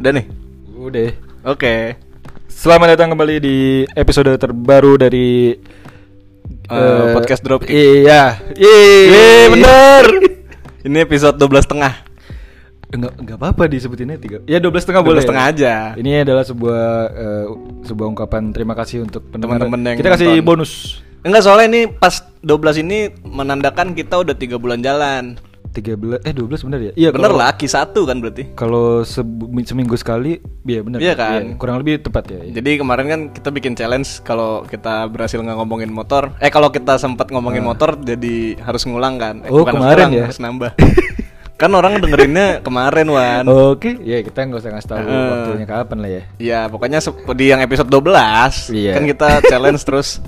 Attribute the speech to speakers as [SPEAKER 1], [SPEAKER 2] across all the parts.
[SPEAKER 1] Udah nih.
[SPEAKER 2] Udah.
[SPEAKER 1] Oke.
[SPEAKER 2] Selamat datang kembali di episode terbaru dari
[SPEAKER 1] Eh, podcast Dropkick.
[SPEAKER 2] Iya.
[SPEAKER 1] Yeay,
[SPEAKER 2] Iya,
[SPEAKER 1] bener. Ini episode 12 tengah.
[SPEAKER 2] Enggak enggak apa-apa disebutinnya tiga. Ya 12 setengah boleh.
[SPEAKER 1] 12 setengah aja.
[SPEAKER 2] Ini adalah sebuah eh, sebuah ungkapan terima kasih untuk pendengar.
[SPEAKER 1] Teman-teman yang
[SPEAKER 2] Kita kasih
[SPEAKER 1] nonton.
[SPEAKER 2] bonus
[SPEAKER 1] Enggak soalnya ini pas 12 ini menandakan kita udah 3 bulan jalan.
[SPEAKER 2] 13 eh 12 bener ya? Iya
[SPEAKER 1] bener
[SPEAKER 2] kalau- Iya,
[SPEAKER 1] lah, Q1 kan berarti.
[SPEAKER 2] Kalau sebu- seminggu sekali, iya bener.
[SPEAKER 1] Iya kan?
[SPEAKER 2] kurang lebih tepat ya. iya.
[SPEAKER 1] Jadi kemarin kan kita bikin challenge kalau kita berhasil nggak ngomongin motor. Eh kalau kita sempat ngomongin motor jadi harus ngulang kan. Eh,
[SPEAKER 2] Ah. Oh,
[SPEAKER 1] bukan harus
[SPEAKER 2] kemarin
[SPEAKER 1] ngulang,
[SPEAKER 2] ya?
[SPEAKER 1] harus nambah. kan orang dengerinnya kemarin Wan.
[SPEAKER 2] Oke, ya kita nggak usah ngasih tahu
[SPEAKER 1] Heeh.
[SPEAKER 2] waktunya kapan lah ya.
[SPEAKER 1] Ya pokoknya se- di yang episode 12
[SPEAKER 2] Iya.
[SPEAKER 1] kan kita challenge terus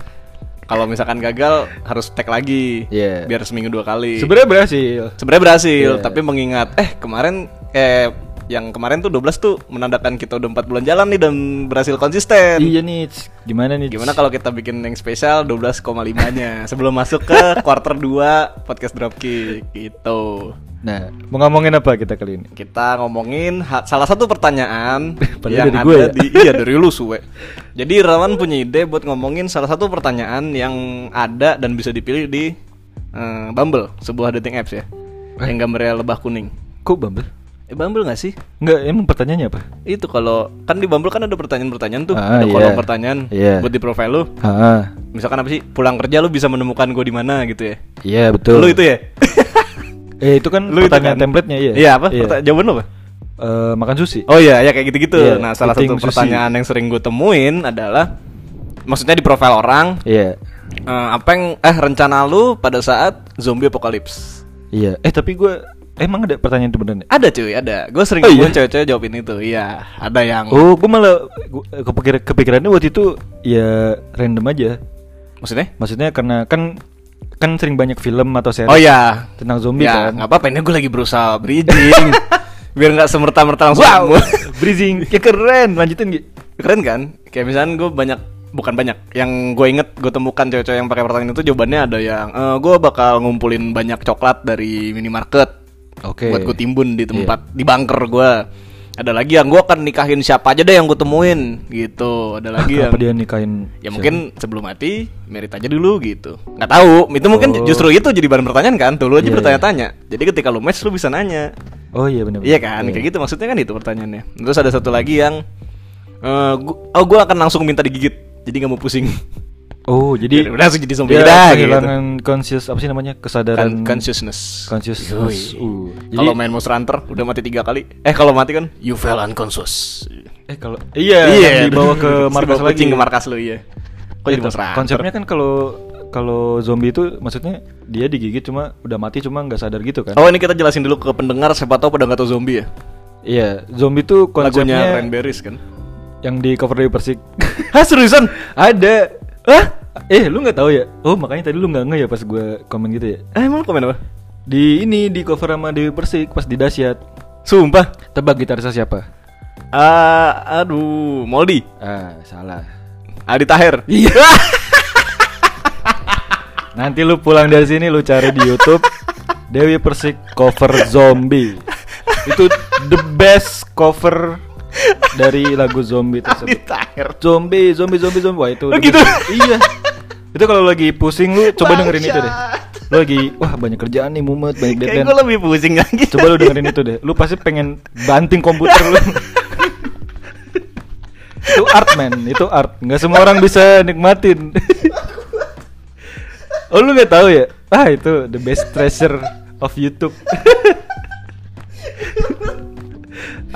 [SPEAKER 1] kalau misalkan gagal harus tag lagi
[SPEAKER 2] Iya.
[SPEAKER 1] biar seminggu dua kali.
[SPEAKER 2] Sebenarnya berhasil.
[SPEAKER 1] Sebenarnya berhasil
[SPEAKER 2] Iya.
[SPEAKER 1] tapi mengingat eh kemarin eh yang kemarin tuh 12 tuh menandakan kita udah 4 bulan jalan nih dan berhasil konsisten.
[SPEAKER 2] Iya nih, Ts. gimana nih? Ts?
[SPEAKER 1] Gimana kalau kita bikin yang spesial 12,5-nya sebelum masuk ke quarter 2 podcast Dropkick gitu.
[SPEAKER 2] Nah, mau ngomongin apa kita kali ini?
[SPEAKER 1] Kita ngomongin ha- salah satu pertanyaan
[SPEAKER 2] Padahal
[SPEAKER 1] yang
[SPEAKER 2] dari
[SPEAKER 1] ada
[SPEAKER 2] gue ya?
[SPEAKER 1] di iya dari lu suwe. Jadi Rawan punya ide buat ngomongin salah satu pertanyaan yang ada dan bisa dipilih di eh, Bumble, sebuah dating apps ya. Yang gambarnya lebah kuning.
[SPEAKER 2] Kok Bumble?
[SPEAKER 1] Eh Bumble gak sih?
[SPEAKER 2] Enggak, emang pertanyaannya apa?
[SPEAKER 1] Itu kalau kan di Bumble kan ada pertanyaan-pertanyaan tuh,
[SPEAKER 2] Ah,
[SPEAKER 1] ada
[SPEAKER 2] iya.
[SPEAKER 1] kolom pertanyaan
[SPEAKER 2] Iya.
[SPEAKER 1] buat di profile lu.
[SPEAKER 2] Ah,
[SPEAKER 1] Misalkan apa sih? Pulang kerja lu bisa menemukan gue di mana gitu ya.
[SPEAKER 2] iya betul.
[SPEAKER 1] Lu itu ya?
[SPEAKER 2] Eh itu kan
[SPEAKER 1] lu itu
[SPEAKER 2] pertanyaan
[SPEAKER 1] kan?
[SPEAKER 2] template-nya iya.
[SPEAKER 1] Iya apa? Perta- Jawaban lu apa?
[SPEAKER 2] Eh, makan sushi.
[SPEAKER 1] Oh iya, ya kayak gitu-gitu.
[SPEAKER 2] Iya,
[SPEAKER 1] nah, salah
[SPEAKER 2] eating
[SPEAKER 1] satu
[SPEAKER 2] sushi.
[SPEAKER 1] pertanyaan yang sering gue temuin adalah maksudnya di profil orang
[SPEAKER 2] Iya.
[SPEAKER 1] eh, apa yang eh rencana lu pada saat zombie apokalips?
[SPEAKER 2] Iya. Eh tapi gue emang ada pertanyaan itu beneran ya?
[SPEAKER 1] Ada cuy, ada. Gue sering
[SPEAKER 2] Oh, iya?
[SPEAKER 1] nemuin cewek-cewek jawabin itu. Iya, ada yang
[SPEAKER 2] Oh, gue malah gua, eh, kepikir kepikirannya waktu itu ya random aja.
[SPEAKER 1] maksudnya?
[SPEAKER 2] Maksudnya karena kan kan sering banyak film atau series
[SPEAKER 1] Oh iya.
[SPEAKER 2] tentang zombie
[SPEAKER 1] ya,
[SPEAKER 2] kan.
[SPEAKER 1] nggak apa-apa ini gue lagi berusaha bridging biar nggak semerta-merta langsung.
[SPEAKER 2] Breezing, ya keren. Lanjutin Gi.
[SPEAKER 1] Keren kan? Kayak misalnya gue banyak bukan banyak yang gue inget gue temukan cewek-cewek yang pakai pertanyaan itu jawabannya ada yang eh, gue bakal ngumpulin banyak coklat dari minimarket
[SPEAKER 2] Oke. Iya.
[SPEAKER 1] buat gue timbun di tempat di bunker gue ada lagi yang gue akan nikahin siapa aja deh yang gue temuin gitu ada lagi yang
[SPEAKER 2] Ah, Kenapa dia nikahin?
[SPEAKER 1] ya mungkin sebelum mati merit aja dulu gitu nggak tahu itu mungkin
[SPEAKER 2] Oh.
[SPEAKER 1] justru itu jadi bahan pertanyaan kan tuh lu aja
[SPEAKER 2] Iya,
[SPEAKER 1] bertanya-tanya jadi ketika lu match lu bisa nanya
[SPEAKER 2] siapa? Oh iya benar.
[SPEAKER 1] iya kan kayak gitu maksudnya kan itu pertanyaannya terus ada satu lagi yang eh, gu- oh gue akan langsung minta digigit jadi nggak mau pusing
[SPEAKER 2] Oh, jadi
[SPEAKER 1] Udah,
[SPEAKER 2] ya
[SPEAKER 1] udah, langsung jadi zombie Kan,
[SPEAKER 2] dia
[SPEAKER 1] dah, gitu.
[SPEAKER 2] kehilangan conscious apa sih namanya? Kesadaran
[SPEAKER 1] Con- consciousness
[SPEAKER 2] consciousness.
[SPEAKER 1] Yoi.
[SPEAKER 2] Uh, Jadi
[SPEAKER 1] kalau main Monster Hunter udah mati tiga kali eh kalau mati kan you fell unconscious
[SPEAKER 2] eh kalau iya, yang dibawa ke markas lagi.
[SPEAKER 1] kucing ke markas lu iya kok jadi
[SPEAKER 2] Iya,
[SPEAKER 1] Monster Hunter
[SPEAKER 2] Konsepnya kan kalau kalau zombie itu maksudnya dia digigit cuma udah mati cuma nggak sadar gitu kan?
[SPEAKER 1] Oh ini kita jelasin dulu ke pendengar siapa tahu pada nggak tahu zombie ya.
[SPEAKER 2] Iya, zombie itu
[SPEAKER 1] Lagunya
[SPEAKER 2] konsepnya
[SPEAKER 1] Cranberries kan.
[SPEAKER 2] yang di cover dari Persik.
[SPEAKER 1] Hah seriusan?
[SPEAKER 2] Ada. Hah? Eh, lu nggak tahu ya? Oh, makanya tadi lu nggak nge ya pas gue komen gitu ya.
[SPEAKER 1] Eh, emang lu komen apa?
[SPEAKER 2] Di ini di cover sama Dewi Persik pas di Dasyat.
[SPEAKER 1] Sumpah.
[SPEAKER 2] Tebak gitarisnya siapa?
[SPEAKER 1] Ah, aduh, Moldi,
[SPEAKER 2] Ah, salah.
[SPEAKER 1] Adi Taher.
[SPEAKER 2] Iya. Nanti lu pulang dari sini lu cari di YouTube Dewi Persik cover zombie. Itu the best cover dari lagu zombie
[SPEAKER 1] Adi
[SPEAKER 2] tersebut.
[SPEAKER 1] Taher.
[SPEAKER 2] Zombie, zombie, zombie, zombie. Wah, itu.
[SPEAKER 1] Oh,
[SPEAKER 2] the
[SPEAKER 1] gitu?
[SPEAKER 2] best. Iya. Itu kalau lagi pusing lu coba dengerin itu deh.
[SPEAKER 1] Bangsat.
[SPEAKER 2] Lu lagi wah banyak kerjaan nih mumet, banyak
[SPEAKER 1] Kayak
[SPEAKER 2] deadline.
[SPEAKER 1] gue lebih pusing lagi.
[SPEAKER 2] Coba lu dengerin itu deh. Lu pasti pengen banting komputer lu. itu art man, itu art. Nggak semua orang bisa nikmatin. oh lu nggak tahu ya? Ah itu the best treasure of YouTube.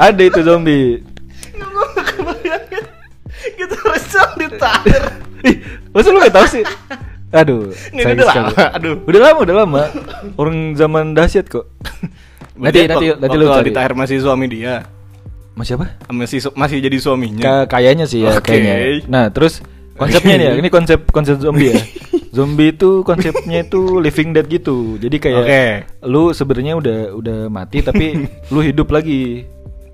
[SPEAKER 2] Ada itu zombie.
[SPEAKER 1] Gue nggak kebayangin. Kita harus Gitu, Adi Taher.
[SPEAKER 2] Ih, masa lu nggak tahu sih? Aduh,
[SPEAKER 1] Ini
[SPEAKER 2] sayang
[SPEAKER 1] udah
[SPEAKER 2] sekali.
[SPEAKER 1] lama, aduh.
[SPEAKER 2] Udah lama, udah lama. Orang zaman dahsyat kok. Nanti- nanti- nanti lu
[SPEAKER 1] Adi
[SPEAKER 2] cari.
[SPEAKER 1] Taher masih suami dia.
[SPEAKER 2] Masih apa?
[SPEAKER 1] Masih su- masih jadi suaminya.
[SPEAKER 2] Ka- kayaknya sih ya
[SPEAKER 1] Iya. Oke.
[SPEAKER 2] kayaknya. Nah, terus konsepnya nih ya, ini konsep konsep zombie ya. zombie itu konsepnya itu living dead gitu. Jadi kayak
[SPEAKER 1] Oke.
[SPEAKER 2] lu sebenarnya udah udah mati tapi lu hidup lagi.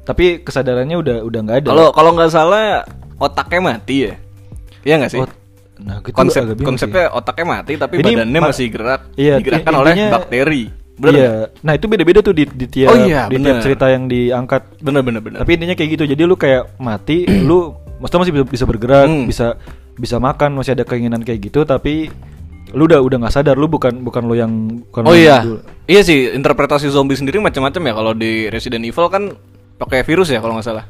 [SPEAKER 2] Tapi kesadarannya udah udah nggak ada.
[SPEAKER 1] Kalau kalau nggak salah otaknya mati ya. Iya nggak sih?
[SPEAKER 2] Oh, nah, gitu
[SPEAKER 1] konsep
[SPEAKER 2] agak bingung sih.
[SPEAKER 1] konsepnya otaknya mati tapi
[SPEAKER 2] Ini
[SPEAKER 1] badannya
[SPEAKER 2] ma-
[SPEAKER 1] masih gerak
[SPEAKER 2] iya,
[SPEAKER 1] digerakkan
[SPEAKER 2] i-
[SPEAKER 1] oleh
[SPEAKER 2] intinya-
[SPEAKER 1] bakteri Bener
[SPEAKER 2] iya. Nah itu beda-beda tuh di, di tiap
[SPEAKER 1] Oh iya,
[SPEAKER 2] di
[SPEAKER 1] bener.
[SPEAKER 2] tiap cerita yang diangkat.
[SPEAKER 1] Bener bener bener.
[SPEAKER 2] Tapi intinya kayak gitu. Jadi lu kayak mati, lu maksudnya masih bisa, bisa bergerak,
[SPEAKER 1] Hmm.
[SPEAKER 2] bisa bisa makan, masih ada keinginan kayak gitu. Tapi lu udah udah nggak sadar, lu bukan bukan lu yang bukan
[SPEAKER 1] oh
[SPEAKER 2] lu yang
[SPEAKER 1] iya.
[SPEAKER 2] dulu.
[SPEAKER 1] Iya sih, interpretasi zombie sendiri macam-macam ya kalau di Resident Evil kan pakai virus ya kalau nggak salah.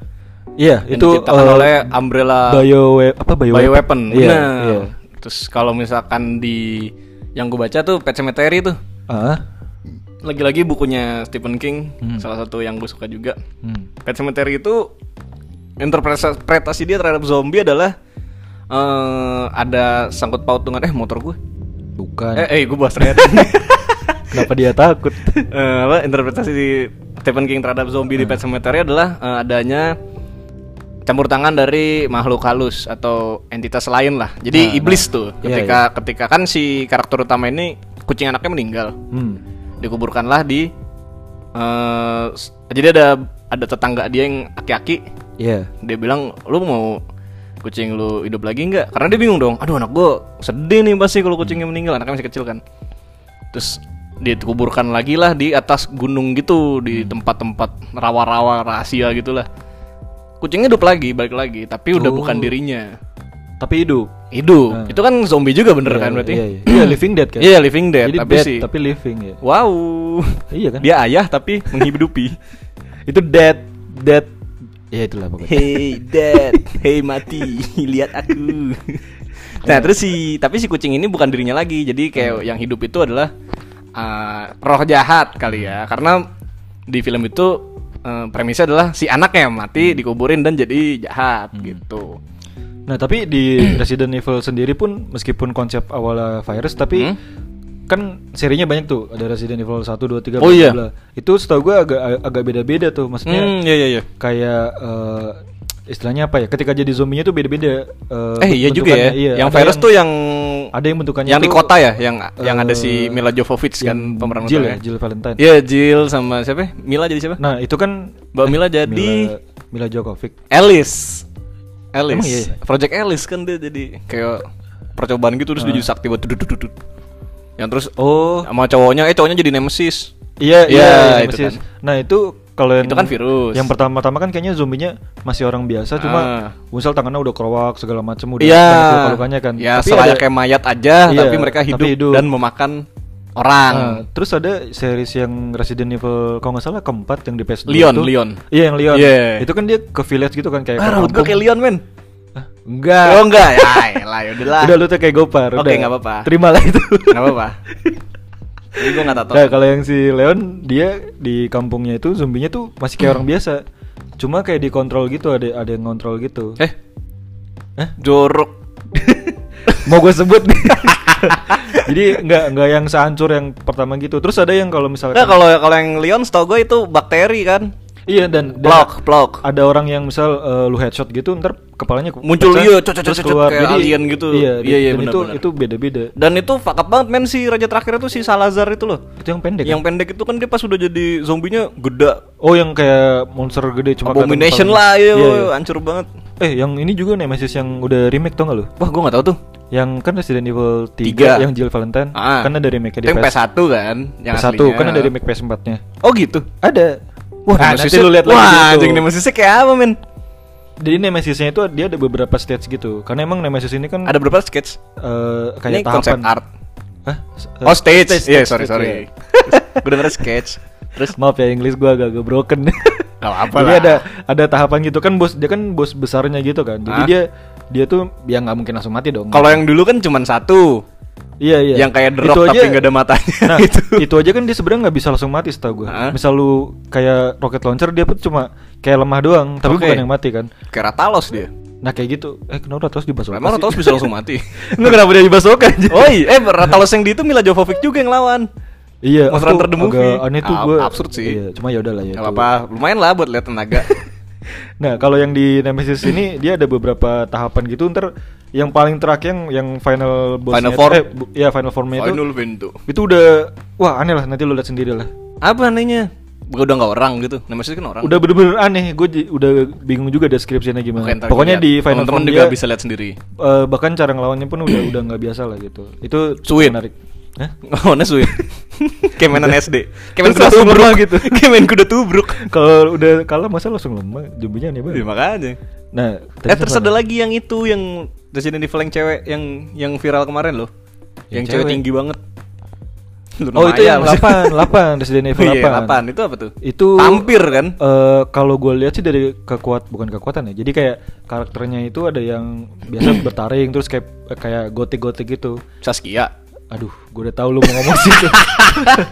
[SPEAKER 2] Iya
[SPEAKER 1] Yang
[SPEAKER 2] itu
[SPEAKER 1] diciptakan
[SPEAKER 2] eh,
[SPEAKER 1] oleh umbrella
[SPEAKER 2] bio apa bio,
[SPEAKER 1] bioweapon.
[SPEAKER 2] Iya.
[SPEAKER 1] Bener.
[SPEAKER 2] iya.
[SPEAKER 1] Terus kalau misalkan di yang gue baca tuh Pet Cemetery tuh
[SPEAKER 2] Ah,
[SPEAKER 1] lagi-lagi bukunya Stephen King,
[SPEAKER 2] Hmm.
[SPEAKER 1] salah satu yang gue suka juga.
[SPEAKER 2] hmm.
[SPEAKER 1] Pet Cemetery itu interpretasi dia terhadap zombie adalah eh ada sangkut paut dengan eh motor gue.
[SPEAKER 2] Bukan.
[SPEAKER 1] Eh, eh gue bahas ternyata.
[SPEAKER 2] Kenapa dia takut?
[SPEAKER 1] Eh, apa interpretasi di Stephen King terhadap zombie di Pet Cemetery adalah eh, adanya campur tangan dari makhluk halus atau entitas lain lah. Jadi
[SPEAKER 2] Nah,
[SPEAKER 1] iblis
[SPEAKER 2] nah.
[SPEAKER 1] tuh
[SPEAKER 2] Iya,
[SPEAKER 1] ketika ketika kan si karakter utama ini kucing anaknya meninggal.
[SPEAKER 2] Hmm.
[SPEAKER 1] Dikuburkanlah di eh, s- jadi ada ada tetangga dia yang aki-aki
[SPEAKER 2] Iya.
[SPEAKER 1] dia bilang lu mau kucing lu hidup lagi nggak karena dia bingung dong aduh anak gue sedih nih pasti kalau kucingnya meninggal anaknya masih kecil kan terus dikuburkan lagi lah di atas gunung gitu di
[SPEAKER 2] Hmm.
[SPEAKER 1] tempat-tempat rawa-rawa rahasia gitulah kucingnya hidup lagi balik lagi tapi udah
[SPEAKER 2] Oh.
[SPEAKER 1] bukan dirinya
[SPEAKER 2] Tapi hidup.
[SPEAKER 1] hidup itu kan zombie juga bener
[SPEAKER 2] Iya,
[SPEAKER 1] kan berarti
[SPEAKER 2] Iya, iya. Iya, living dead kan.
[SPEAKER 1] Iya, living dead
[SPEAKER 2] Jadi
[SPEAKER 1] tapi
[SPEAKER 2] dead,
[SPEAKER 1] sih
[SPEAKER 2] tapi living ya.
[SPEAKER 1] wow
[SPEAKER 2] Iya kan?
[SPEAKER 1] dia ayah tapi menghidupi
[SPEAKER 2] Itu dead, dead. Ya itulah pokoknya.
[SPEAKER 1] Hey dad, hey mati, lihat aku. Nah terus si tapi si kucing ini bukan dirinya lagi, jadi
[SPEAKER 2] Hmm.
[SPEAKER 1] kayak yang hidup itu adalah eh, roh jahat kali ya, karena di film itu eh, premisnya adalah si anaknya yang
[SPEAKER 2] Hmm.
[SPEAKER 1] mati dikuburin dan jadi jahat gitu.
[SPEAKER 2] Nah, tapi di Resident Evil sendiri pun meskipun konsep awalnya virus tapi
[SPEAKER 1] Hmm?
[SPEAKER 2] kan serinya banyak tuh. Ada Resident Evil 1 2 3
[SPEAKER 1] Oh, iya.
[SPEAKER 2] Itu setahu gua agak agak beda-beda tuh maksudnya.
[SPEAKER 1] Hmm, iya iya iya.
[SPEAKER 2] Kayak eh, istilahnya apa ya? Ketika jadi zombinya tuh beda-beda eh,
[SPEAKER 1] Eh iya juga ya.
[SPEAKER 2] bentukannya. Iya,
[SPEAKER 1] yang
[SPEAKER 2] ada
[SPEAKER 1] virus tuh yang
[SPEAKER 2] ada yang bentukannya
[SPEAKER 1] yang di
[SPEAKER 2] tuh,
[SPEAKER 1] kota ya, yang yang ada
[SPEAKER 2] eh,
[SPEAKER 1] si Mila Jovovich kan
[SPEAKER 2] yang
[SPEAKER 1] pemeran
[SPEAKER 2] Jill ya,
[SPEAKER 1] utamanya.
[SPEAKER 2] Jill Valentine.
[SPEAKER 1] Iya Jill sama siapa? ya? Mila jadi siapa?
[SPEAKER 2] Nah, itu kan
[SPEAKER 1] Mbak Mila
[SPEAKER 2] eh,
[SPEAKER 1] jadi
[SPEAKER 2] Mila, Mila Djokovic.
[SPEAKER 1] Alice. Alice.
[SPEAKER 2] Emang iya ya?
[SPEAKER 1] Project Alice kan dia jadi kayak percobaan gitu terus dia jadi sakti buat dudut dudut. Yang terus
[SPEAKER 2] Oh,
[SPEAKER 1] sama cowoknya eh cowoknya jadi nemesis.
[SPEAKER 2] iya
[SPEAKER 1] Iya,
[SPEAKER 2] iya, iya,
[SPEAKER 1] itu
[SPEAKER 2] persis.
[SPEAKER 1] kan.
[SPEAKER 2] Nah, itu kalau yang
[SPEAKER 1] Itu kan virus.
[SPEAKER 2] Yang pertama-tama kan kayaknya zombinya masih orang biasa cuma
[SPEAKER 1] Ah.
[SPEAKER 2] misal tangannya udah kerowak segala macem udah
[SPEAKER 1] Iya.
[SPEAKER 2] banyak luka-lukanya kan.
[SPEAKER 1] Ya
[SPEAKER 2] Tapi
[SPEAKER 1] selayak
[SPEAKER 2] ada-
[SPEAKER 1] kayak mayat aja
[SPEAKER 2] Iya,
[SPEAKER 1] tapi mereka
[SPEAKER 2] tapi
[SPEAKER 1] hidup,
[SPEAKER 2] hidup.
[SPEAKER 1] dan memakan
[SPEAKER 2] Ah,
[SPEAKER 1] orang.
[SPEAKER 2] terus ada series yang Resident Evil kalau nggak salah keempat yang di PS2
[SPEAKER 1] Leon,
[SPEAKER 2] tuh.
[SPEAKER 1] Leon.
[SPEAKER 2] Iya, yang Leon.
[SPEAKER 1] Iya.
[SPEAKER 2] Itu kan dia ke village gitu kan kayak
[SPEAKER 1] ah,
[SPEAKER 2] ke
[SPEAKER 1] rambut gue
[SPEAKER 2] kampung.
[SPEAKER 1] kayak Leon men.
[SPEAKER 2] Ah, enggak.
[SPEAKER 1] Oh enggak, ya elah yaudahlah.
[SPEAKER 2] Udah lu tuh kayak Gopar,
[SPEAKER 1] Oke,
[SPEAKER 2] udah.
[SPEAKER 1] nggak apa-apa.
[SPEAKER 2] Terimalah itu.
[SPEAKER 1] Enggak apa-apa. Jadi gue enggak tahu.
[SPEAKER 2] Nah kalau yang si Leon dia di kampungnya itu zombinya tuh masih kayak orang biasa, cuma kayak dikontrol gitu ada ada yang ngontrol gitu.
[SPEAKER 1] Eh,
[SPEAKER 2] Hah?
[SPEAKER 1] jorok.
[SPEAKER 2] Mau gue sebut nih. Jadi nggak nggak yang sehancur yang pertama gitu. Terus ada yang kalau misalkan
[SPEAKER 1] Nah, kalau kalau yang Leon setahu gue itu bakteri kan.
[SPEAKER 2] iya dan, dan
[SPEAKER 1] Plok, plok.
[SPEAKER 2] ada orang yang misal eh, lu headshot gitu ntar kepalanya ke-
[SPEAKER 1] Muncul
[SPEAKER 2] pecah,
[SPEAKER 1] iya, cocok, cocok,
[SPEAKER 2] terus
[SPEAKER 1] cocok, kayak alien gitu.
[SPEAKER 2] Iya,
[SPEAKER 1] Iya, iya,
[SPEAKER 2] dan
[SPEAKER 1] benar,
[SPEAKER 2] itu
[SPEAKER 1] benar.
[SPEAKER 2] itu beda-beda.
[SPEAKER 1] Dan itu fuck up banget men si raja terakhir itu si Salazar itu loh.
[SPEAKER 2] Itu yang pendek.
[SPEAKER 1] Yang
[SPEAKER 2] kan?
[SPEAKER 1] pendek itu kan dia pas udah jadi zombinya gede.
[SPEAKER 2] Oh yang kayak monster gede cuma kelihatan
[SPEAKER 1] Abomination
[SPEAKER 2] kepalanya.
[SPEAKER 1] lah iya,
[SPEAKER 2] Iya, iya.
[SPEAKER 1] hancur banget.
[SPEAKER 2] Eh yang ini juga Nemesis yang udah remake tau gak lu?
[SPEAKER 1] Wah, gua nggak tahu tuh.
[SPEAKER 2] Yang kan Resident Evil 3
[SPEAKER 1] Tiga.
[SPEAKER 2] yang Jill Valentine
[SPEAKER 1] Ah.
[SPEAKER 2] kan ada remake
[SPEAKER 1] Itu
[SPEAKER 2] di
[SPEAKER 1] yang
[SPEAKER 2] PS1
[SPEAKER 1] PS1 kan, yang
[SPEAKER 2] PS1
[SPEAKER 1] aslinya.
[SPEAKER 2] kan ada remake PS4 nya
[SPEAKER 1] Oh gitu.
[SPEAKER 2] ada wah
[SPEAKER 1] Ah,
[SPEAKER 2] Nemesis
[SPEAKER 1] nanti-
[SPEAKER 2] lu lihat lagi
[SPEAKER 1] Wah,
[SPEAKER 2] di
[SPEAKER 1] anjing
[SPEAKER 2] YouTube.
[SPEAKER 1] Nemesisnya kayak apa men?
[SPEAKER 2] jadi Nemesisnya itu dia ada beberapa stage gitu karena emang Nemesis ini kan
[SPEAKER 1] Ada berapa sketch?
[SPEAKER 2] eh,
[SPEAKER 1] Ini
[SPEAKER 2] kayak tahapan
[SPEAKER 1] konsep art.
[SPEAKER 2] Hah?
[SPEAKER 1] Oh, stage. Iya,
[SPEAKER 2] stage,
[SPEAKER 1] sorry,
[SPEAKER 2] stage,
[SPEAKER 1] sorry.
[SPEAKER 2] iya.
[SPEAKER 1] Gue denger sketch. Terus
[SPEAKER 2] maaf ya Inggris gua agak-agak broken
[SPEAKER 1] Gak apa-apa
[SPEAKER 2] Jadi
[SPEAKER 1] lah.
[SPEAKER 2] ada ada tahapan gitu kan bos dia kan bos besarnya gitu kan jadi
[SPEAKER 1] Ah.
[SPEAKER 2] dia dia tuh ya nggak mungkin langsung mati dong
[SPEAKER 1] kalau yang dulu kan cuman satu.
[SPEAKER 2] iya iya
[SPEAKER 1] Yang kayak The
[SPEAKER 2] Itu
[SPEAKER 1] Rock tapi
[SPEAKER 2] aja-
[SPEAKER 1] nggak ada matanya
[SPEAKER 2] Nah,
[SPEAKER 1] gitu.
[SPEAKER 2] itu. aja kan dia sebenarnya nggak bisa langsung mati setahu gue.
[SPEAKER 1] Hah?
[SPEAKER 2] Misal lu kayak rocket launcher dia pun cuma kayak lemah doang, tapi
[SPEAKER 1] Oke.
[SPEAKER 2] bukan yang mati kan.
[SPEAKER 1] Kayak Ratalos dia.
[SPEAKER 2] Nah kayak gitu. Eh kenapa terus dibasuh?
[SPEAKER 1] Emang Ratalos bisa langsung mati.
[SPEAKER 2] Enggak kenapa dia dibasuh kan?
[SPEAKER 1] Oi, eh Ratalos yang di itu Mila Jovovich juga yang lawan.
[SPEAKER 2] Iya,
[SPEAKER 1] Monster
[SPEAKER 2] aku
[SPEAKER 1] Hunter the movie.
[SPEAKER 2] agak aneh tuh
[SPEAKER 1] Ah,
[SPEAKER 2] gue.
[SPEAKER 1] absurd sih.
[SPEAKER 2] Iya, cuma ya udahlah
[SPEAKER 1] Gak
[SPEAKER 2] ya. itu.
[SPEAKER 1] apa-apa, lumayan lah buat lihat tenaga.
[SPEAKER 2] Nah, kalau yang di Nemesis ini dia ada beberapa tahapan gitu ntar yang paling terakhir yang yang final bossnya
[SPEAKER 1] Final form.
[SPEAKER 2] eh bu- iya final formnya itu
[SPEAKER 1] Final Window.
[SPEAKER 2] itu udah wah aneh lah nanti lu lihat sendiri lah
[SPEAKER 1] Apa anehnya? Gue udah nggak orang gitu. Nemesis kan orang.
[SPEAKER 2] udah bener-bener aneh gue j- udah bingung juga deskripsinya gimana
[SPEAKER 1] Oke, ntar lihat.
[SPEAKER 2] pokoknya di final
[SPEAKER 1] teman-teman
[SPEAKER 2] form
[SPEAKER 1] juga
[SPEAKER 2] dia
[SPEAKER 1] bisa lihat sendiri.
[SPEAKER 2] Eh, bahkan cara ngelawannya pun udah udah nggak biasa lah gitu itu
[SPEAKER 1] Suit.
[SPEAKER 2] menarik Hah?
[SPEAKER 1] Oh, Neswin. Kemenan SD. Kemen
[SPEAKER 2] Terus
[SPEAKER 1] kuda
[SPEAKER 2] langsung
[SPEAKER 1] tubruk
[SPEAKER 2] lemah gitu.
[SPEAKER 1] Kemen kuda tubruk.
[SPEAKER 2] Kalau udah kalah masa langsung lemah, jombinya aneh
[SPEAKER 1] Ya,
[SPEAKER 2] banget.
[SPEAKER 1] makanya.
[SPEAKER 2] Nah,
[SPEAKER 1] Eh terus ada
[SPEAKER 2] apa?
[SPEAKER 1] lagi yang itu yang Resident Evil yang cewek yang yang viral kemarin loh.
[SPEAKER 2] Yang
[SPEAKER 1] Yang, cewek
[SPEAKER 2] cewek.
[SPEAKER 1] tinggi banget. Lu
[SPEAKER 2] Oh,
[SPEAKER 1] namanya
[SPEAKER 2] itu yang
[SPEAKER 1] apa sih?
[SPEAKER 2] 8, 8 Resident Evil 8.
[SPEAKER 1] Iya, 8. Itu apa tuh?
[SPEAKER 2] Itu
[SPEAKER 1] Vampir kan?
[SPEAKER 2] Eh, kalau gue lihat sih dari kekuat bukan kekuatan ya. Jadi kayak karakternya itu ada yang biasa bertaring terus kayak kayak gotik-gotik gitu.
[SPEAKER 1] Saskia.
[SPEAKER 2] Aduh, gue udah tahu lu mau ngomong situ.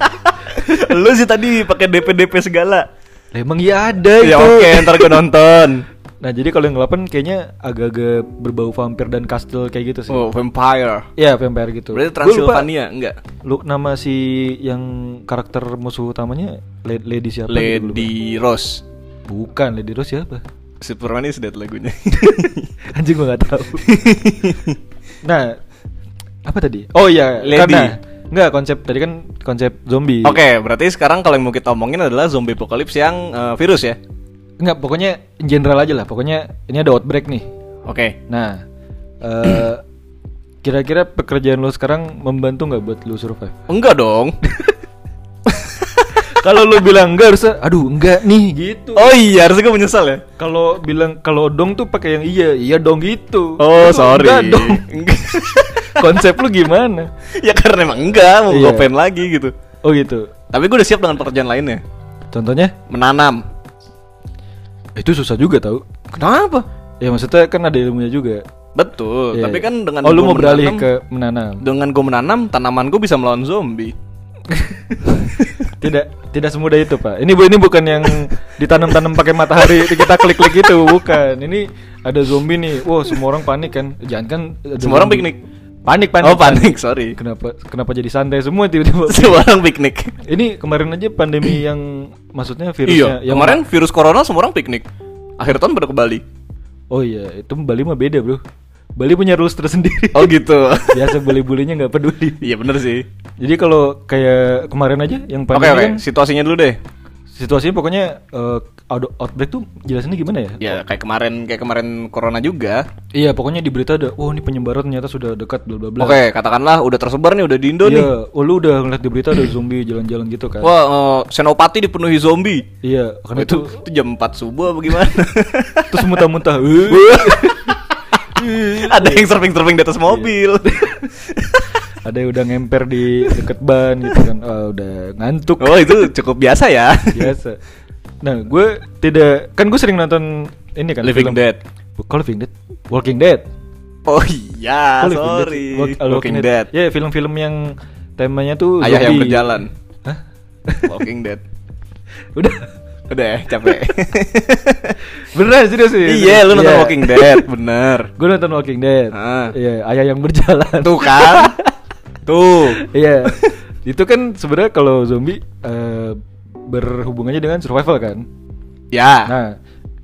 [SPEAKER 1] lu sih tadi pakai DP-DP segala.
[SPEAKER 2] Lah, emang ya ada itu.
[SPEAKER 1] Ya oke, ntar gue nonton.
[SPEAKER 2] Nah, jadi kalau yang 8 kayaknya agak-agak berbau vampir dan kastil kayak gitu sih.
[SPEAKER 1] Oh, vampire.
[SPEAKER 2] Ya, vampire gitu.
[SPEAKER 1] Berarti
[SPEAKER 2] Gua lupa
[SPEAKER 1] Transylvania enggak?
[SPEAKER 2] Lu nama si yang karakter musuh utamanya Le- Lady siapa? gitu, gua lupa.
[SPEAKER 1] Lady Rose.
[SPEAKER 2] Bukan Lady Rose siapa?
[SPEAKER 1] Superman is dead lagunya.
[SPEAKER 2] Anjing gua nggak tahu. nah, apa tadi? Oh iya,
[SPEAKER 1] Lady.
[SPEAKER 2] karena enggak konsep tadi kan konsep zombie.
[SPEAKER 1] Oke, berarti sekarang kalau yang mau kita omongin adalah zombie apocalypse yang eh, virus ya.
[SPEAKER 2] Enggak, pokoknya in general aja lah. Pokoknya ini ada outbreak nih.
[SPEAKER 1] Oke.
[SPEAKER 2] Nah, eh kira-kira pekerjaan lu sekarang membantu nggak buat lu survive?
[SPEAKER 1] Enggak dong.
[SPEAKER 2] Kalau lu bilang enggak harusnya aduh enggak nih gitu.
[SPEAKER 1] oh iya, harusnya gue menyesal ya.
[SPEAKER 2] Kalau bilang kalau dong tuh pakai yang iya, iya dong gitu.
[SPEAKER 1] Oh,
[SPEAKER 2] Lu
[SPEAKER 1] sorry.
[SPEAKER 2] Enggak dong.
[SPEAKER 1] Enggak.
[SPEAKER 2] Konsep lu gimana?
[SPEAKER 1] ya karena emang enggak mau gue
[SPEAKER 2] Iya.
[SPEAKER 1] pengen lagi gitu.
[SPEAKER 2] Oh gitu.
[SPEAKER 1] Tapi gue udah siap dengan pekerjaan lainnya.
[SPEAKER 2] Contohnya
[SPEAKER 1] Menanam.
[SPEAKER 2] itu susah juga tau.
[SPEAKER 1] Kenapa?
[SPEAKER 2] Ya maksudnya kan ada ilmunya juga.
[SPEAKER 1] Betul.
[SPEAKER 2] Iya.
[SPEAKER 1] Tapi kan dengan
[SPEAKER 2] Oh, lu
[SPEAKER 1] gua
[SPEAKER 2] mau beralih
[SPEAKER 1] menanam-
[SPEAKER 2] ke menanam.
[SPEAKER 1] dengan gue menanam tanaman gue bisa melawan zombie.
[SPEAKER 2] Tidak tidak semudah itu, Pak. Ini bu ini bukan yang ditanam-tanam pakai matahari kita klik-klik itu, bukan. Ini ada zombie nih. Wow, semua orang panik kan. Jangan kan ada
[SPEAKER 1] Semua orang
[SPEAKER 2] zombie.
[SPEAKER 1] piknik.
[SPEAKER 2] Panik, panik.
[SPEAKER 1] oh panik, sorry.
[SPEAKER 2] Kenapa kenapa jadi santai semua tiba-tiba?
[SPEAKER 1] Semua orang piknik.
[SPEAKER 2] Ini kemarin aja pandemi yang maksudnya virusnya
[SPEAKER 1] Iya,
[SPEAKER 2] yang
[SPEAKER 1] kemarin virus corona semua orang piknik. Akhir tahun pada ke Bali.
[SPEAKER 2] Oh iya, itu Bali mah beda, Bro. Bali punya rules tersendiri.
[SPEAKER 1] Oh gitu.
[SPEAKER 2] Biasa bully-bullynya nggak peduli.
[SPEAKER 1] Iya bener sih.
[SPEAKER 2] Jadi kalau kayak kemarin aja yang
[SPEAKER 1] Oke
[SPEAKER 2] pandemi
[SPEAKER 1] oke,
[SPEAKER 2] kan
[SPEAKER 1] situasinya dulu deh.
[SPEAKER 2] situasinya pokoknya eh, out- outbreak tuh jelasinnya gimana ya?
[SPEAKER 1] Ya kayak kemarin kayak kemarin corona juga.
[SPEAKER 2] Iya, pokoknya di berita ada, oh ini penyebaran ternyata sudah dekat bla bla bla.
[SPEAKER 1] Oke, katakanlah udah tersebar nih udah di Indo nih.
[SPEAKER 2] Iya, oh, lu udah ngeliat di berita ada zombie jalan-jalan gitu kan?
[SPEAKER 1] Wah, eh, senopati dipenuhi zombie.
[SPEAKER 2] Iya, karena itu
[SPEAKER 1] itu, itu jam 4 subuh apa gimana?
[SPEAKER 2] terus muntah-muntah. Eh,
[SPEAKER 1] Ada yang surfing-surfing di atas
[SPEAKER 2] Iya.
[SPEAKER 1] mobil.
[SPEAKER 2] ada yang udah ngemper di deket ban gitu kan. Ah, udah ngantuk
[SPEAKER 1] oh, itu cukup biasa ya.
[SPEAKER 2] biasa. Nah, gue tidak kan gue sering nonton ini kan
[SPEAKER 1] Living
[SPEAKER 2] film-
[SPEAKER 1] Dead.
[SPEAKER 2] Kalau Living Dead, Walking Dead.
[SPEAKER 1] Oh iya,
[SPEAKER 2] Kok Living Dead
[SPEAKER 1] sorry.
[SPEAKER 2] sih? Walk- ah,
[SPEAKER 1] Walking Dead.
[SPEAKER 2] Ya film-film yang temanya tuh
[SPEAKER 1] Ayah yang
[SPEAKER 2] zombie.
[SPEAKER 1] berjalan.
[SPEAKER 2] Hah?
[SPEAKER 1] Walking Dead.
[SPEAKER 2] Udah.
[SPEAKER 1] Udah ya, capek.
[SPEAKER 2] Beneran serius sih.
[SPEAKER 1] iya, lu nonton Walking Dead, bener.
[SPEAKER 2] Gue nonton Walking Dead.
[SPEAKER 1] Ah.
[SPEAKER 2] Iya, ayah yang berjalan.
[SPEAKER 1] Tuh kan. Tuh.
[SPEAKER 2] Iya. Itu kan sebenarnya kalau zombie eh, berhubungannya dengan survival kan.
[SPEAKER 1] Ya.
[SPEAKER 2] Nah,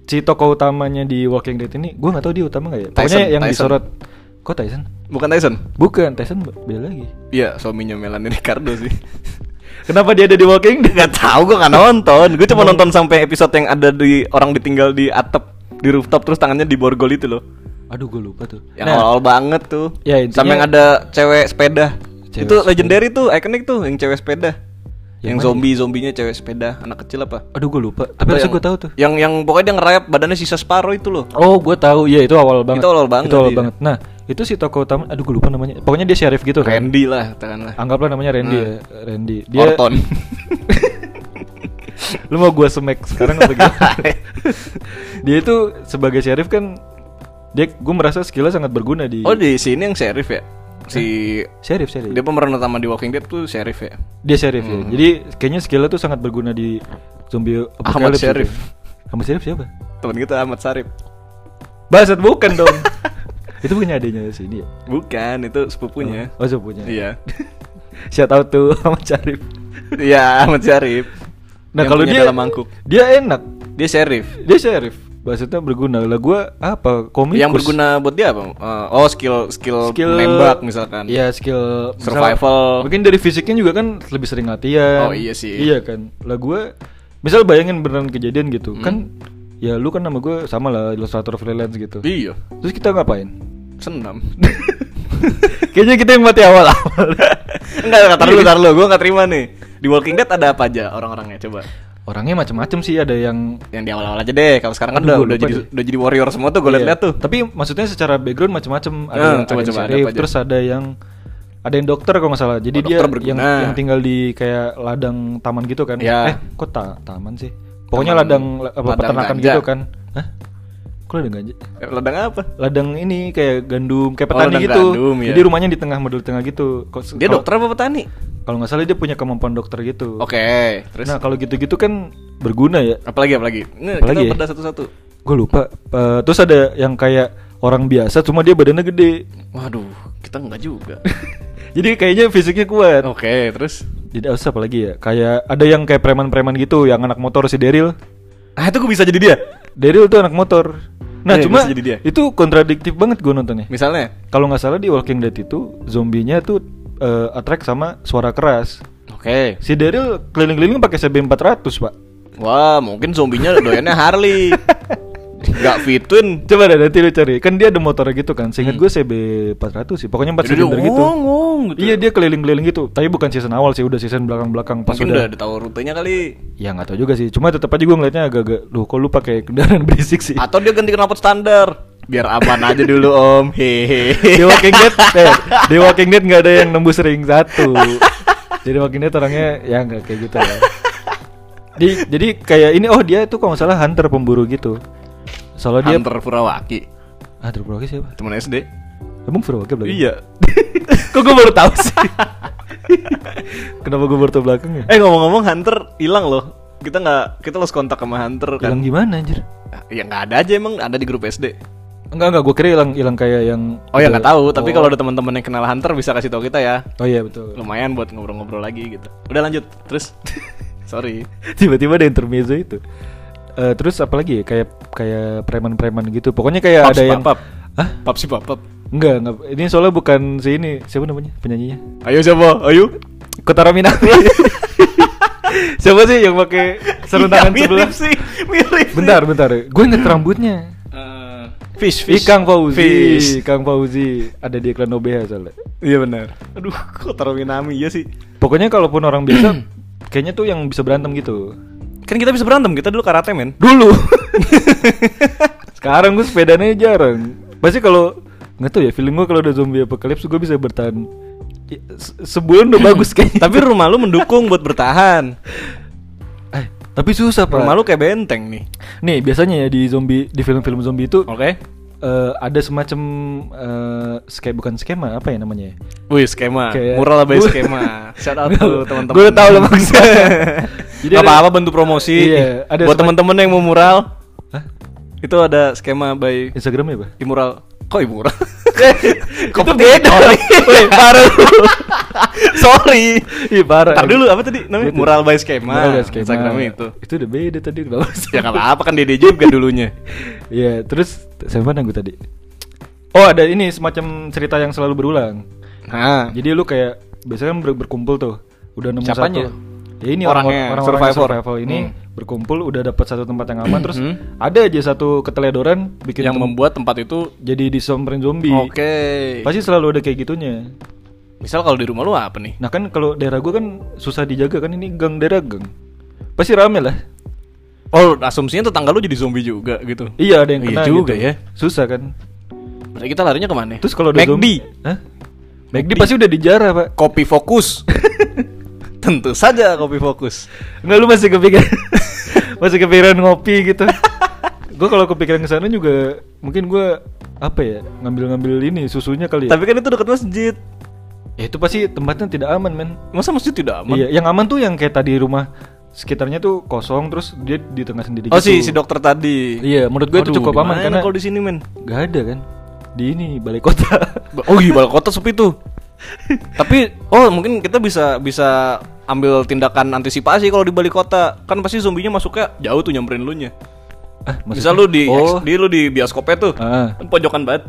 [SPEAKER 2] si tokoh utamanya di Walking Dead ini, gue nggak tahu dia utama nggak ya. Pokoknya
[SPEAKER 1] Tyson,
[SPEAKER 2] yang
[SPEAKER 1] Tyson.
[SPEAKER 2] disorot. Kok Tyson?
[SPEAKER 1] Bukan Tyson.
[SPEAKER 2] Bukan Tyson, beda lagi.
[SPEAKER 1] Iya, suaminya Melanie Ricardo sih.
[SPEAKER 2] Kenapa dia ada di Walking Dead?
[SPEAKER 1] Gak tau gue gak nonton Gue cuma nonton sampai episode yang ada di Orang ditinggal di atap Di rooftop terus tangannya diborgol itu loh
[SPEAKER 2] Aduh, gue lupa tuh. Nah,
[SPEAKER 1] Yang awal banget tuh
[SPEAKER 2] Ya, intinya-
[SPEAKER 1] Sampai yang ada cewek sepeda
[SPEAKER 2] Cewek
[SPEAKER 1] Itu legendary tuh, ikonik tuh Yang cewek sepeda
[SPEAKER 2] Yang
[SPEAKER 1] Yang
[SPEAKER 2] mana?
[SPEAKER 1] zombie-zombinya cewek sepeda Anak kecil apa?
[SPEAKER 2] Aduh gue lupa. Tapi
[SPEAKER 1] Apa
[SPEAKER 2] harusnya
[SPEAKER 1] yang-
[SPEAKER 2] gue tahu tuh.
[SPEAKER 1] Yang yang pokoknya dia ngerayap badannya sisa separuh itu loh
[SPEAKER 2] Oh gue tahu. Iya itu awal banget.
[SPEAKER 1] Itu awal banget,
[SPEAKER 2] Itu awal
[SPEAKER 1] iya.
[SPEAKER 2] banget. Nah itu si tokoh utama. Aduh gue lupa namanya. Pokoknya dia sheriff gitu kan.
[SPEAKER 1] Randy lah, katakanlah
[SPEAKER 2] Anggaplah namanya Randy ya. Randy. Dia.
[SPEAKER 1] Orton
[SPEAKER 2] Lu mau gue semek sekarang atau gimana? dia itu sebagai sheriff kan. Dia gue merasa skillnya sangat berguna di.
[SPEAKER 1] Oh di sini yang sheriff ya? Si
[SPEAKER 2] Sheriff sheriff.
[SPEAKER 1] Dia pemeran utama di Walking Dead tuh sheriff ya?
[SPEAKER 2] Dia sheriff ya. Jadi kayaknya skillnya tuh sangat berguna di zombie apocalypse gitu.
[SPEAKER 1] Sheriff.
[SPEAKER 2] Ahmad sheriff siapa?
[SPEAKER 1] Temen kita Ahmad Sarip
[SPEAKER 2] Baset bukan dong. itu bukannya adanya sini ya?
[SPEAKER 1] Bukan, itu sepupunya
[SPEAKER 2] Oh sepupunya.
[SPEAKER 1] Iya.
[SPEAKER 2] Shout out tuh Ahmad Syarif.
[SPEAKER 1] Iya, Ahmad Syarif.
[SPEAKER 2] Nah,
[SPEAKER 1] Yang
[SPEAKER 2] kalau
[SPEAKER 1] punya
[SPEAKER 2] dia
[SPEAKER 1] dalam mangkuk.
[SPEAKER 2] Dia enak.
[SPEAKER 1] Dia sheriff.
[SPEAKER 2] Dia Syarif. Maksudnya berguna. Lah gua apa? Komikus.
[SPEAKER 1] Yang berguna buat dia apa? Eh, oh, skill skill, menembak misalkan.
[SPEAKER 2] Iya, skill misal-
[SPEAKER 1] Survival.
[SPEAKER 2] mungkin dari fisiknya juga kan lebih sering latihan.
[SPEAKER 1] Oh, iya sih.
[SPEAKER 2] Iya kan. Lah gua misal bayangin beneran kejadian gitu.
[SPEAKER 1] Hmm.
[SPEAKER 2] Kan ya lu kan nama gue sama lah ilustrator freelance gitu.
[SPEAKER 1] Iya.
[SPEAKER 2] Terus kita ngapain?
[SPEAKER 1] Senam.
[SPEAKER 2] Kayaknya kita yang mati awal-awal.
[SPEAKER 1] Enggak, enggak, tar dulu, tar dulu. Gue nggak terima nih. Di Walking Dead ada apa aja orang-orangnya? Coba.
[SPEAKER 2] Orangnya macam-macam sih, ada yang
[SPEAKER 1] Yang di awal-awal aja deh. Kalau sekarang kan
[SPEAKER 2] Aduh,
[SPEAKER 1] udah,
[SPEAKER 2] gua
[SPEAKER 1] udah
[SPEAKER 2] lupa
[SPEAKER 1] jadi
[SPEAKER 2] deh.
[SPEAKER 1] udah jadi warrior semua tuh. Gue
[SPEAKER 2] Iya.
[SPEAKER 1] liat-liat tuh.
[SPEAKER 2] Tapi maksudnya secara background macam-macam. Ada,
[SPEAKER 1] Hmm,
[SPEAKER 2] yang-
[SPEAKER 1] coba-coba,
[SPEAKER 2] ada yang
[SPEAKER 1] ada
[SPEAKER 2] sheriff,
[SPEAKER 1] apa aja?
[SPEAKER 2] terus ada yang ada yang dokter kalau nggak salah. Jadi
[SPEAKER 1] Oh,
[SPEAKER 2] dia
[SPEAKER 1] dokter berguna.
[SPEAKER 2] yang, yang tinggal di kayak ladang taman gitu kan.
[SPEAKER 1] Ya.
[SPEAKER 2] Eh, kok ta- taman sih? Pokoknya
[SPEAKER 1] Taman-
[SPEAKER 2] ladang la- apa
[SPEAKER 1] ladang
[SPEAKER 2] peternakan
[SPEAKER 1] ganja.
[SPEAKER 2] gitu kan. Hah? Kok ladang ganja?
[SPEAKER 1] Eh, Ladang apa?
[SPEAKER 2] Ladang ini kayak gandum, kayak
[SPEAKER 1] Oh,
[SPEAKER 2] petani
[SPEAKER 1] ladang
[SPEAKER 2] gitu.
[SPEAKER 1] gandum, ya.
[SPEAKER 2] Jadi rumahnya di tengah, modul tengah gitu. Kok-
[SPEAKER 1] Dia
[SPEAKER 2] kalau-
[SPEAKER 1] dokter apa petani?
[SPEAKER 2] Kalau nggak salah dia punya kemampuan dokter gitu.
[SPEAKER 1] Oke, terus
[SPEAKER 2] Nah, kalau gitu-gitu kan berguna ya.
[SPEAKER 1] apalagi apalagi? Ini
[SPEAKER 2] Apalagi
[SPEAKER 1] kita
[SPEAKER 2] ya?
[SPEAKER 1] bedah satu-satu.
[SPEAKER 2] Gue lupa. Eh, terus ada yang kayak orang biasa, cuma dia badannya gede.
[SPEAKER 1] Waduh, kita enggak juga.
[SPEAKER 2] Jadi kayaknya fisiknya kuat.
[SPEAKER 1] Oke, terus
[SPEAKER 2] Jadi harus apa lagi ya? Kayak ada yang kayak preman-preman gitu, yang anak motor si Daryl.
[SPEAKER 1] Ah, itu gue bisa jadi dia.
[SPEAKER 2] Daryl tuh anak motor. Nah,
[SPEAKER 1] Iya,
[SPEAKER 2] cuma
[SPEAKER 1] bisa jadi dia.
[SPEAKER 2] itu kontradiktif banget gue nontonnya.
[SPEAKER 1] Misalnya.
[SPEAKER 2] Kalau nggak salah di Walking Dead itu zombinya tuh eh, attract sama suara keras.
[SPEAKER 1] Oke.
[SPEAKER 2] Si Daryl keliling-keliling pakai CB 400 pak.
[SPEAKER 1] Wah, mungkin zombinya doyannya Harley. Gak fitun.
[SPEAKER 2] Coba deh nanti lu cari. Kan dia ada motornya gitu kan. Seingat gue CB 400 sih. Pokoknya 4
[SPEAKER 1] Hmm. Jadi dia
[SPEAKER 2] silinder gitu.
[SPEAKER 1] ngong-ngong gitu.
[SPEAKER 2] Iya dia keliling-keliling gitu. Tapi bukan season awal sih, udah season belakang-belakang pas
[SPEAKER 1] Mungkin
[SPEAKER 2] udah.
[SPEAKER 1] udah ada tahu rutenya kali.
[SPEAKER 2] Ya nggak tahu juga sih. Cuma tetap aja gue ngeliatnya agak-agak. Loh kok lu pakai kendaraan berisik sih?
[SPEAKER 1] Atau dia ganti knalpot standar. Biar aman aja dulu, Om. Hehehe.
[SPEAKER 2] The Walking Dead, eh, The Walking Dead nggak ada yang nembus ring satu. Jadi Walking Dead orangnya ya nggak kayak gitu ya. Jadi, jadi kayak ini oh dia itu kalau nggak salah hunter pemburu gitu. Soalnya dia
[SPEAKER 1] Hunter Furawaki.
[SPEAKER 2] hunter pemburu siapa?
[SPEAKER 1] Temen SD.
[SPEAKER 2] Emang Furawaki belakang?
[SPEAKER 1] Iya.
[SPEAKER 2] Kok gue baru tahu sih? Kenapa gue baru tahu belakang ya?
[SPEAKER 1] Eh ngomong-ngomong Hunter hilang loh. Kita nggak kita lost kontak sama Hunter kan.
[SPEAKER 2] Hilang gimana anjir?
[SPEAKER 1] Ah, Ya nggak ada aja emang ada di grup SD.
[SPEAKER 2] Enggak enggak gue kira hilang hilang kayak yang
[SPEAKER 1] Oh ya
[SPEAKER 2] ada-
[SPEAKER 1] nggak tahu, tapi kalau ada teman-teman yang kenal Hunter bisa kasih tahu kita ya.
[SPEAKER 2] Oh iya betul.
[SPEAKER 1] Lumayan buat ngobrol-ngobrol lagi gitu. Udah lanjut. Terus sorry.
[SPEAKER 2] Tiba-tiba ada intermezzo itu. Eh terus apalagi ya kayak kayak preman-preman gitu. Pokoknya kayak
[SPEAKER 1] Paps,
[SPEAKER 2] ada yang
[SPEAKER 1] pap, pap.
[SPEAKER 2] Hah?
[SPEAKER 1] Pap si pap. pap.
[SPEAKER 2] Enggak, enggak. Ini soalnya bukan si ini. Siapa namanya? Penyanyinya?
[SPEAKER 1] Ayo siapa? Ayo.
[SPEAKER 2] Kotaro Minami.
[SPEAKER 1] Iya.
[SPEAKER 2] Siapa sih yang pakai seruntangan
[SPEAKER 1] Iya,
[SPEAKER 2] sebelah?
[SPEAKER 1] mirip sih, mirip. sih.
[SPEAKER 2] Bentar, bentar. Gue inget rambutnya.
[SPEAKER 1] Eh, fish,
[SPEAKER 2] Ih, Kang Fauzi.
[SPEAKER 1] Fish.
[SPEAKER 2] Kang Fauzi ada di iklan OBH soalnya.
[SPEAKER 1] Iya benar. Aduh, kok taruh Minami ya sih.
[SPEAKER 2] Pokoknya kalaupun orang biasa kayaknya tuh yang bisa berantem gitu.
[SPEAKER 1] Kan kita bisa berantem, kita dulu karate men.
[SPEAKER 2] Dulu. Sekarang gue sepedanya jarang. Pasti kalau nggak tahu ya feeling gue kalau ada zombie apocalypse gue bisa bertahan i- se- sebulan udah bagus gitu. kayaknya.
[SPEAKER 1] Tapi rumah lu mendukung buat bertahan.
[SPEAKER 2] Eh, tapi susah pak.
[SPEAKER 1] Rumah lu kayak benteng nih.
[SPEAKER 2] Nih biasanya ya di zombie di film-film zombie itu
[SPEAKER 1] Oke.
[SPEAKER 2] eh, ada semacam eh skema bukan skema apa ya namanya? ya?
[SPEAKER 1] Wih, skema.
[SPEAKER 2] Kayak-
[SPEAKER 1] Mural lah by
[SPEAKER 2] Gua-
[SPEAKER 1] skema. Shout out to teman-teman.
[SPEAKER 2] Gua udah tahu lah maksudnya. Jadi
[SPEAKER 1] Jadi
[SPEAKER 2] ada-
[SPEAKER 1] apa-apa bentuk promosi.
[SPEAKER 2] Iya, ada
[SPEAKER 1] buat
[SPEAKER 2] semacam-
[SPEAKER 1] teman-teman yang mau mural,
[SPEAKER 2] Hah?
[SPEAKER 1] itu ada skema by
[SPEAKER 2] Instagramnya apa?
[SPEAKER 1] Imural. Kok Imural?
[SPEAKER 2] Itu
[SPEAKER 1] penting?
[SPEAKER 2] beda.
[SPEAKER 1] Sorry.
[SPEAKER 2] Weh, parah lu.
[SPEAKER 1] Sorry.
[SPEAKER 2] Ih parah.
[SPEAKER 1] Ntar dulu apa tadi namanya?
[SPEAKER 2] Gitu.
[SPEAKER 1] Mural by skema.
[SPEAKER 2] Mural by skema.
[SPEAKER 1] Instagramnya itu.
[SPEAKER 2] Itu udah beda tadi kenapa? sih?
[SPEAKER 1] Ya nggak apa-apa kan Dede juga dulunya.
[SPEAKER 2] Iya, terus siapa yang gue tadi? Oh, ada ini semacam cerita yang selalu berulang.
[SPEAKER 1] Nah,
[SPEAKER 2] Jadi lu kayak biasanya kan ber- berkumpul tuh, udah nemu
[SPEAKER 1] Siapanya?
[SPEAKER 2] satu. Ya ini
[SPEAKER 1] Orangnya,
[SPEAKER 2] orang-orang orang-orang yang
[SPEAKER 1] survivor.
[SPEAKER 2] survival ini
[SPEAKER 1] Hmm.
[SPEAKER 2] berkumpul udah dapat satu tempat yang aman terus
[SPEAKER 1] Hmm.
[SPEAKER 2] ada aja satu keteledoran bikin
[SPEAKER 1] yang
[SPEAKER 2] tem-
[SPEAKER 1] membuat tempat itu
[SPEAKER 2] jadi disamperin zombie.
[SPEAKER 1] Oke.
[SPEAKER 2] Pasti selalu ada kayak gitunya.
[SPEAKER 1] Misal kalau di rumah lu apa nih?
[SPEAKER 2] Nah kan kalau daerah gua kan susah dijaga kan ini gang daerah gang. Pasti rame lah.
[SPEAKER 1] Oh, asumsinya tetangga lu jadi zombie juga gitu.
[SPEAKER 2] Iya ada yang
[SPEAKER 1] Iya
[SPEAKER 2] kena
[SPEAKER 1] juga
[SPEAKER 2] gitu.
[SPEAKER 1] ya.
[SPEAKER 2] Susah kan.
[SPEAKER 1] Berarti kita larinya kemana?
[SPEAKER 2] Terus kalau ada
[SPEAKER 1] McD,
[SPEAKER 2] zombie, Hah? McD pasti udah dijarah pak.
[SPEAKER 1] kopi fokus. Tentu saja kopi fokus.
[SPEAKER 2] Enggak lu masih kepikiran masih kepikiran ngopi gitu. gue kalau kepikiran ke sana juga mungkin gue apa ya ngambil-ngambil ini susunya kali ya.
[SPEAKER 1] Tapi kan itu dekat masjid.
[SPEAKER 2] Ya, itu pasti tempatnya tidak aman men.
[SPEAKER 1] Masa masjid tidak aman?
[SPEAKER 2] Iya, yang aman tuh yang kayak tadi rumah sekitarnya tuh kosong terus dia di tengah sendiri
[SPEAKER 1] Oh
[SPEAKER 2] gitu.
[SPEAKER 1] si si dokter tadi.
[SPEAKER 2] Iya, menurut gue itu
[SPEAKER 1] Aduh,
[SPEAKER 2] cukup
[SPEAKER 1] di
[SPEAKER 2] aman
[SPEAKER 1] mana
[SPEAKER 2] karena
[SPEAKER 1] kalau di sini men.
[SPEAKER 2] Gak ada kan di ini balai kota.
[SPEAKER 1] Ba- Oh iya, balai kota sepi tuh. Tapi oh mungkin kita bisa bisa ambil tindakan antisipasi kalau di balai kota. Kan pasti zombinya masuknya jauh tuh nyamperin lu nya.
[SPEAKER 2] ah,
[SPEAKER 1] Misal
[SPEAKER 2] maksudnya-
[SPEAKER 1] lu di
[SPEAKER 2] oh,
[SPEAKER 1] di lu di bioskopnya tuh.
[SPEAKER 2] ah.
[SPEAKER 1] Kan pojokan banget.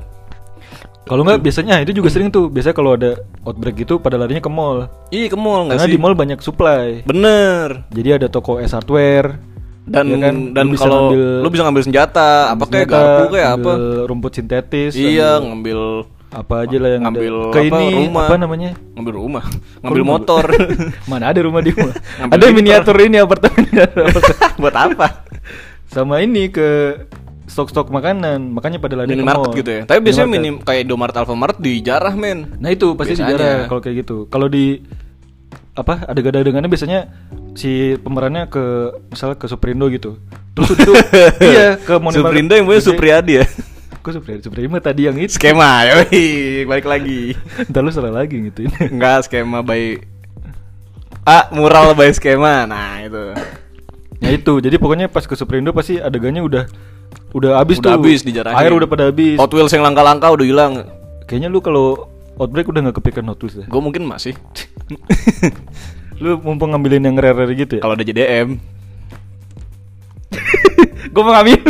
[SPEAKER 2] Kalau nggak biasanya itu juga sering tuh. Biasanya kalau ada outbreak gitu pada larinya ke mall.
[SPEAKER 1] Ih, ke mall Oh, nggak
[SPEAKER 2] Karena
[SPEAKER 1] sih?
[SPEAKER 2] di mall banyak supply.
[SPEAKER 1] Bener.
[SPEAKER 2] Jadi ada toko S hardware.
[SPEAKER 1] Dan
[SPEAKER 2] ya kan?
[SPEAKER 1] dan
[SPEAKER 2] Lu bisa
[SPEAKER 1] kalau
[SPEAKER 2] ngambil-
[SPEAKER 1] lu bisa ngambil senjata, apa kayak
[SPEAKER 2] senjata,
[SPEAKER 1] garpu kayak apa?
[SPEAKER 2] ambil Rumput sintetis.
[SPEAKER 1] Iya,
[SPEAKER 2] ambil-
[SPEAKER 1] ngambil
[SPEAKER 2] apa aja lah yang
[SPEAKER 1] Ngambil
[SPEAKER 2] ada. ke
[SPEAKER 1] apa,
[SPEAKER 2] ini
[SPEAKER 1] rumah.
[SPEAKER 2] apa namanya
[SPEAKER 1] ngambil rumah ngambil
[SPEAKER 2] rumah?
[SPEAKER 1] motor
[SPEAKER 2] mana ada rumah di rumah
[SPEAKER 1] Ngambil
[SPEAKER 2] ada
[SPEAKER 1] gitar.
[SPEAKER 2] miniatur ini apartemen
[SPEAKER 1] buat apa
[SPEAKER 2] sama ini ke stok-stok makanan makanya pada lari ke
[SPEAKER 1] minimarket
[SPEAKER 2] mall.
[SPEAKER 1] gitu ya tapi biasanya
[SPEAKER 2] Minimarket.
[SPEAKER 1] minim kayak Indomaret Alfamart dijarah men
[SPEAKER 2] Nah itu pasti
[SPEAKER 1] Biasanya.
[SPEAKER 2] dijarah kalau kayak gitu. Kalau di apa ada gadangannya biasanya si pemerannya ke misalnya ke Suprindo gitu. Terus itu iya ke Iya. Monumen-
[SPEAKER 1] Suprindo yang punya
[SPEAKER 2] Gede.
[SPEAKER 1] Supriyadi ya
[SPEAKER 2] Kok Suprindo? Suprindo tadi yang itu.
[SPEAKER 1] skema yoi balik lagi
[SPEAKER 2] Entar lu salah lagi gitu.
[SPEAKER 1] enggak skema by ah mural by skema nah itu
[SPEAKER 2] Ya itu. Jadi pokoknya pas ke Suprindo pasti adegannya udah udah habis
[SPEAKER 1] udah
[SPEAKER 2] tuh.
[SPEAKER 1] habis dijarahin
[SPEAKER 2] Air udah pada habis.
[SPEAKER 1] Hot Wheels yang langka-langka udah hilang
[SPEAKER 2] Kayaknya lu kalau Outbreak udah nggak kepikiran Hot Wheels ya?
[SPEAKER 1] gue mungkin masih
[SPEAKER 2] Lu mumpung ngambilin yang rare-rare gitu ya?
[SPEAKER 1] kalau ada JDM
[SPEAKER 2] Gue mau ngambil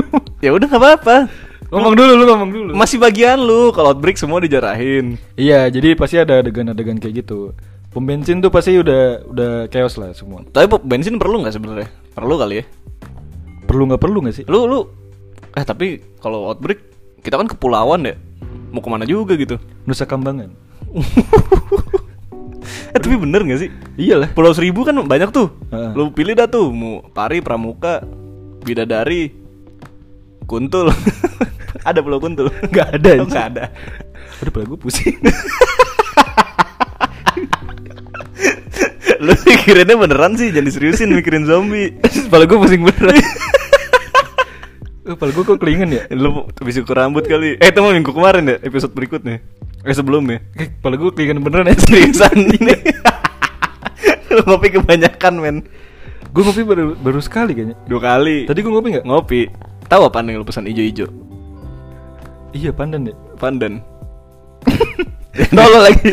[SPEAKER 1] ya udah nggak apa-apa
[SPEAKER 2] Ngomong dulu, Oh, lu ngomong dulu
[SPEAKER 1] masih bagian lu kalau outbreak semua dijarahin
[SPEAKER 2] Iya, jadi pasti ada adegan-adegan kayak gitu. Pom bensin tuh pasti udah udah chaos lah semua.
[SPEAKER 1] tapi pop bensin perlu nggak sebenarnya perlu kali ya
[SPEAKER 2] Perlu nggak perlu nggak sih?
[SPEAKER 1] lu lu eh tapi kalau outbreak kita kan kepulauan ya mau kemana juga gitu
[SPEAKER 2] Nusa Kambangan.
[SPEAKER 1] eh tapi bener nggak sih
[SPEAKER 2] Iyalah.
[SPEAKER 1] pulau seribu kan banyak tuh
[SPEAKER 2] Heeh.
[SPEAKER 1] lu pilih dah tuh mau pari pramuka bidadari kuntul ada pulau kuntul
[SPEAKER 2] Nggak ada,
[SPEAKER 1] Oh,
[SPEAKER 2] anjing.
[SPEAKER 1] nggak ada
[SPEAKER 2] Udah pula gue pusing.
[SPEAKER 1] lu mikirinnya beneran sih jangan diseriusin mikirin zombie
[SPEAKER 2] Kepala gue pusing beneran. Kepala gue kok kelingan ya?
[SPEAKER 1] Lu habis ukur rambut kali Eh itu mah minggu kemarin ya episode berikutnya Eh sebelumnya
[SPEAKER 2] Eh, Kepala gue kelingan beneran ya?
[SPEAKER 1] Seriusan ini Lu ngopi kebanyakan men
[SPEAKER 2] Gue ngopi baru, baru sekali kayaknya.
[SPEAKER 1] Dua kali
[SPEAKER 2] Tadi gue ngopi nggak?
[SPEAKER 1] ngopi Tahu apa nih lu pesan ijo-ijo
[SPEAKER 2] Iya pandan ya.
[SPEAKER 1] Pandan
[SPEAKER 2] Tolol lagi.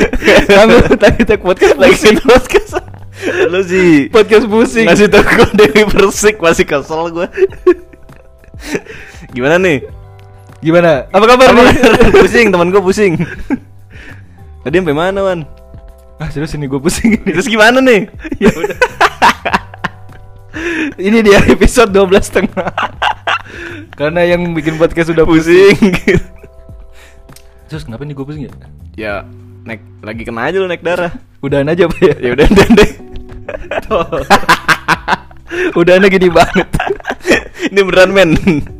[SPEAKER 2] Ngambil tadi tag podcast lagi.
[SPEAKER 1] Lagi podcast Lu sih
[SPEAKER 2] Podcast pusing.
[SPEAKER 1] Ngasih tau gue Dewi Persik Masih kesel gue Gimana nih?
[SPEAKER 2] Gimana? Apa kabar
[SPEAKER 1] Apa
[SPEAKER 2] nih?
[SPEAKER 1] kabar? pusing teman gue pusing Tadi sampai mana Wan?
[SPEAKER 2] ah serius ini gue pusing ini.
[SPEAKER 1] Terus gimana nih?
[SPEAKER 2] ya udah. Ini dia episode 12 setengah. Karena yang bikin podcast sudah pusing. Terus kenapa nih gue pusing ya?
[SPEAKER 1] ya naik lagi kena aja lu naik darah
[SPEAKER 2] Udahan aja pak ya.
[SPEAKER 1] ya udah udah deh
[SPEAKER 2] Udahan lagi di banget.
[SPEAKER 1] ini beneran men